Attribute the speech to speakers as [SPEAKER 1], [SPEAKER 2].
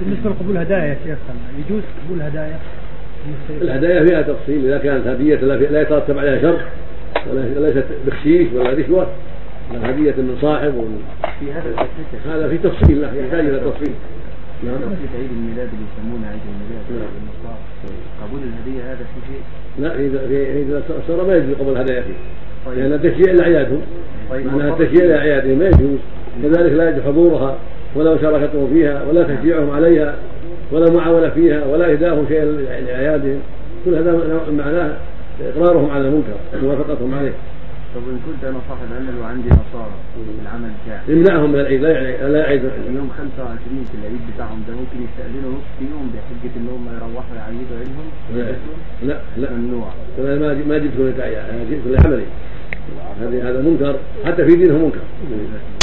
[SPEAKER 1] بالنسبه لقبول الهدايا يا شيخ يجوز قبول هدايا
[SPEAKER 2] الهدايا فيها تفصيل اذا كانت هديه لا في- لا يترتب عليها شر ولا ليست بخشيش ولا رشوه بل هديه من صاحب ومن
[SPEAKER 3] في هذا التكليف
[SPEAKER 2] هذا في تفصيل لا يحتاج الى تفصيل نعم
[SPEAKER 3] في عيد الميلاد اللي يسمونه عيد الميلاد
[SPEAKER 2] نعم.
[SPEAKER 3] النصارى قبول الهديه هذا في شيء
[SPEAKER 2] لا اذا في اذا صار ما يجوز قبل الهدايا فيه
[SPEAKER 3] طيب.
[SPEAKER 2] لان تشييع لاعيادهم
[SPEAKER 3] طيب
[SPEAKER 2] معناها
[SPEAKER 3] والفرق-
[SPEAKER 2] تشييع لاعيادهم ما يجوز كذلك لا يجوز حضورها ولا مشاركتهم فيها ولا تشجيعهم عليها ولا معاونه فيها ولا اهداهم شيئا لاعيادهم كل هذا معناه- معناه اقرارهم على المنكر وموافقتهم عليه
[SPEAKER 3] طب ان كنت انا صاحب عمل وعندي نصارى في العمل بتاعي
[SPEAKER 2] يمنعهم من العيد لا يع- لا يعيد
[SPEAKER 3] يوم 25 في العيد بتاعهم ده ممكن يستأذنوا نص يوم بحجة انهم يروحوا يعيدوا عيدهم
[SPEAKER 2] لا لا لا
[SPEAKER 3] ممنوع
[SPEAKER 2] فأنا ما ما جبت لك أنا جبت لعملي هذا هذا منكر حتى في دينهم منكر